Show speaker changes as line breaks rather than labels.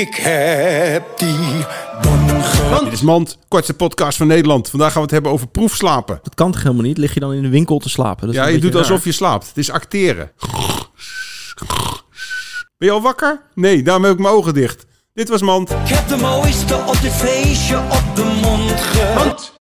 Ik heb die bon
Dit is Mand, kortste podcast van Nederland. Vandaag gaan we het hebben over proefslapen.
Dat kan toch helemaal niet? Lig je dan in de winkel te slapen? Dat is
Ja,
een
je
beetje
doet alsof
raar.
je slaapt. Het is acteren. Ben je al wakker? Nee, daarom heb ik mijn ogen dicht. Dit was Mand.
Ik heb de mooiste op dit feestje op de mond gehad.